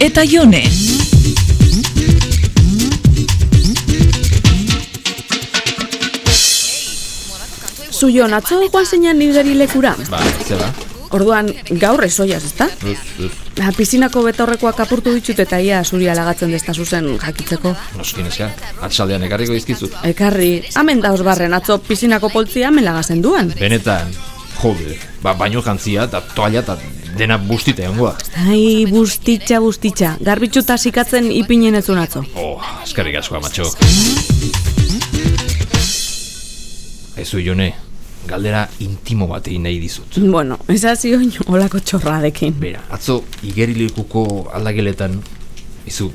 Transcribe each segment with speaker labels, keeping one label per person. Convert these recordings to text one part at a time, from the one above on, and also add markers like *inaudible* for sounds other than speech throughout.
Speaker 1: eta jone.
Speaker 2: Zuion, atzo joan zeinan nidari lekura.
Speaker 3: Ba, zela.
Speaker 2: Orduan, gaur esoiaz, ezta?
Speaker 3: Uz, uz.
Speaker 2: Ha, Pizinako betaurrekoak apurtu ditut eta ia zuri alagatzen desta zuzen jakitzeko.
Speaker 3: Noski neska. Atxaldean ekarriko dizkizut.
Speaker 2: Ekarri, hamen dauz barren atzo pizinako poltzia hemen lagazen duan.
Speaker 3: Benetan, jode, ba, baino jantzia eta toalla eta dena bustita egongo da.
Speaker 2: Ai, bustitxa, bustitxa, garbitxuta sikatzen ipinen ez zuen atzo.
Speaker 3: Oh, eskerrik asko amatxo. Ezu jone, galdera intimo bat egin nahi dizut.
Speaker 2: Bueno, ez hazi oin olako txorradekin.
Speaker 3: Bera, atzo igerilekuko aldageletan, izu,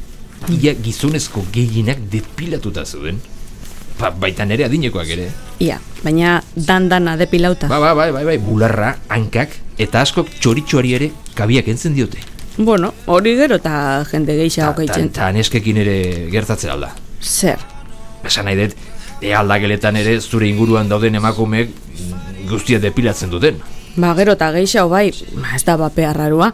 Speaker 3: ia gizonezko gehienak depilatuta zeuden. Ba, baita nere adinekoak ere.
Speaker 2: Ia, baina dan-dana depilauta.
Speaker 3: Ba, ba, bai, bai, bai, bularra, hankak, eta askok txoritxoari ere kabiak entzen diote.
Speaker 2: Bueno, hori gero eta jende gehiago
Speaker 3: Ta-
Speaker 2: gehitzen.
Speaker 3: ta neskekin ere gertatzen alda.
Speaker 2: Zer,
Speaker 3: Esan nahi dut, ea aldageletan ere zure inguruan dauden emakumeek mm, guztia depilatzen duten.
Speaker 2: ba gero eta gehiago bai, ba, ez da bapea rarua.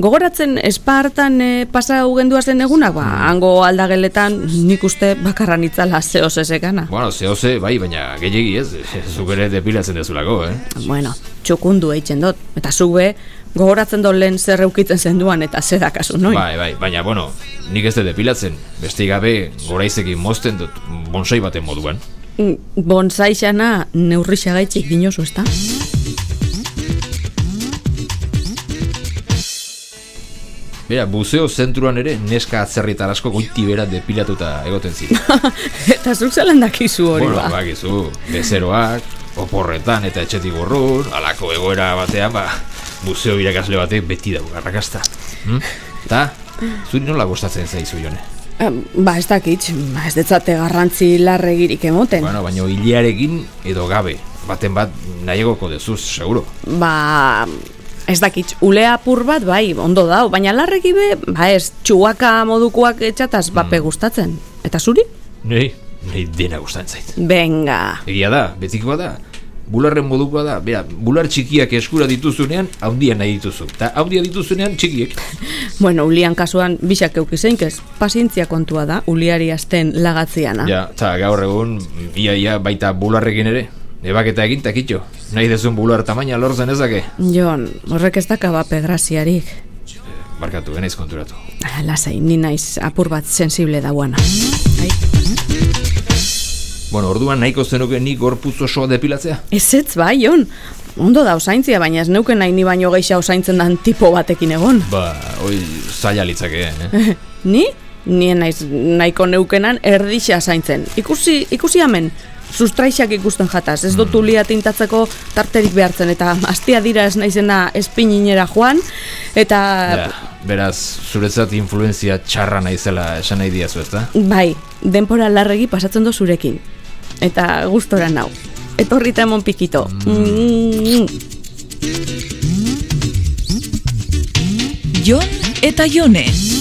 Speaker 2: Gogoratzen espartan e, pasa ugendua zen eguna, ba, hango aldageletan nik uste bakarran itzala zehoz ezekana.
Speaker 3: Bueno, zehose, bai, baina gehiegi ez, *laughs* zuk ere depilatzen dezulako, eh?
Speaker 2: Bueno, txukundu eitzen dut, eta zu be, gogoratzen dut lehen zer eukitzen zenduan eta zer dakazu noin.
Speaker 3: Bai, bai, baina, bueno, nik ez dut depilatzen, beste gabe goraizekin mozten dut bonsai baten moduan.
Speaker 2: Mm, Bonsai xana neurri xagaitxik dinozu, ezta? *laughs*
Speaker 3: Bera, buzeo zentruan ere neska atzerritar asko goiti bera depilatuta egoten ziren.
Speaker 2: eta zuk zelan dakizu hori
Speaker 3: bueno, bai.
Speaker 2: ba.
Speaker 3: bakizu, bezeroak, oporretan eta etxetik urrun, alako egoera batean, ba, buzeo irakasle batek beti dago arrakasta. Hm? Ta, zuri nola gustatzen zaizu jone?
Speaker 2: Eh, Ba, ez dakit, ba, ez detzate garrantzi larregirik emoten.
Speaker 3: Bueno, baino hilearekin edo gabe, baten bat nahiagoko dezuz, seguro.
Speaker 2: Ba, ez dakit, ulea apur bat, bai, ondo dau, baina larregi be, ba ez, txuaka modukoak etxataz bape gustatzen. Eta zuri?
Speaker 3: Nei, nei dena gustatzen zait.
Speaker 2: Benga.
Speaker 3: Egia da, betikoa da, bularren modukoa da, bera, bular txikiak eskura dituzunean, handia nahi dituzu. Ta handia dituzunean txikiek.
Speaker 2: Bueno, ulian kasuan bisak eukizeinkez, pazientzia kontua da, uliari asten lagatziana.
Speaker 3: Ja, eta gaur egun, ia ia baita bularrekin ere. Ebaketa egin takitxo. Nahi dezun bular tamaina lortzen ezake.
Speaker 2: Jon, horrek ez daka ba bape graziarik.
Speaker 3: Barkatu, genaiz konturatu.
Speaker 2: Ah, Lasai, ni naiz apur bat sensible dauana. Ai.
Speaker 3: Bueno, orduan nahiko zenuke ni gorputz osoa depilatzea?
Speaker 2: Ez ez bai, Jon. Ondo da osaintzia, baina ez neuken nahi ni baino geisha osaintzen dan tipo batekin egon.
Speaker 3: Ba, hoi, zaila litzake, eh?
Speaker 2: *laughs* Ni? Nien naiz nahiko neukenan erdixa zaintzen. Ikusi, ikusi hemen, sustraixak ikusten jataz, ez dut ulia tintatzeko tarterik behartzen, eta *laughs* astia dira ez naizena espininera joan, eta...
Speaker 3: Ja, beraz, zuretzat influenzia txarra naizela esan nahi diazu, ezta?
Speaker 2: Bai, denpora larregi pasatzen do zurekin. Eta gustora nau. Etorri eta emon pikito. Mm.
Speaker 1: Jon eta jone.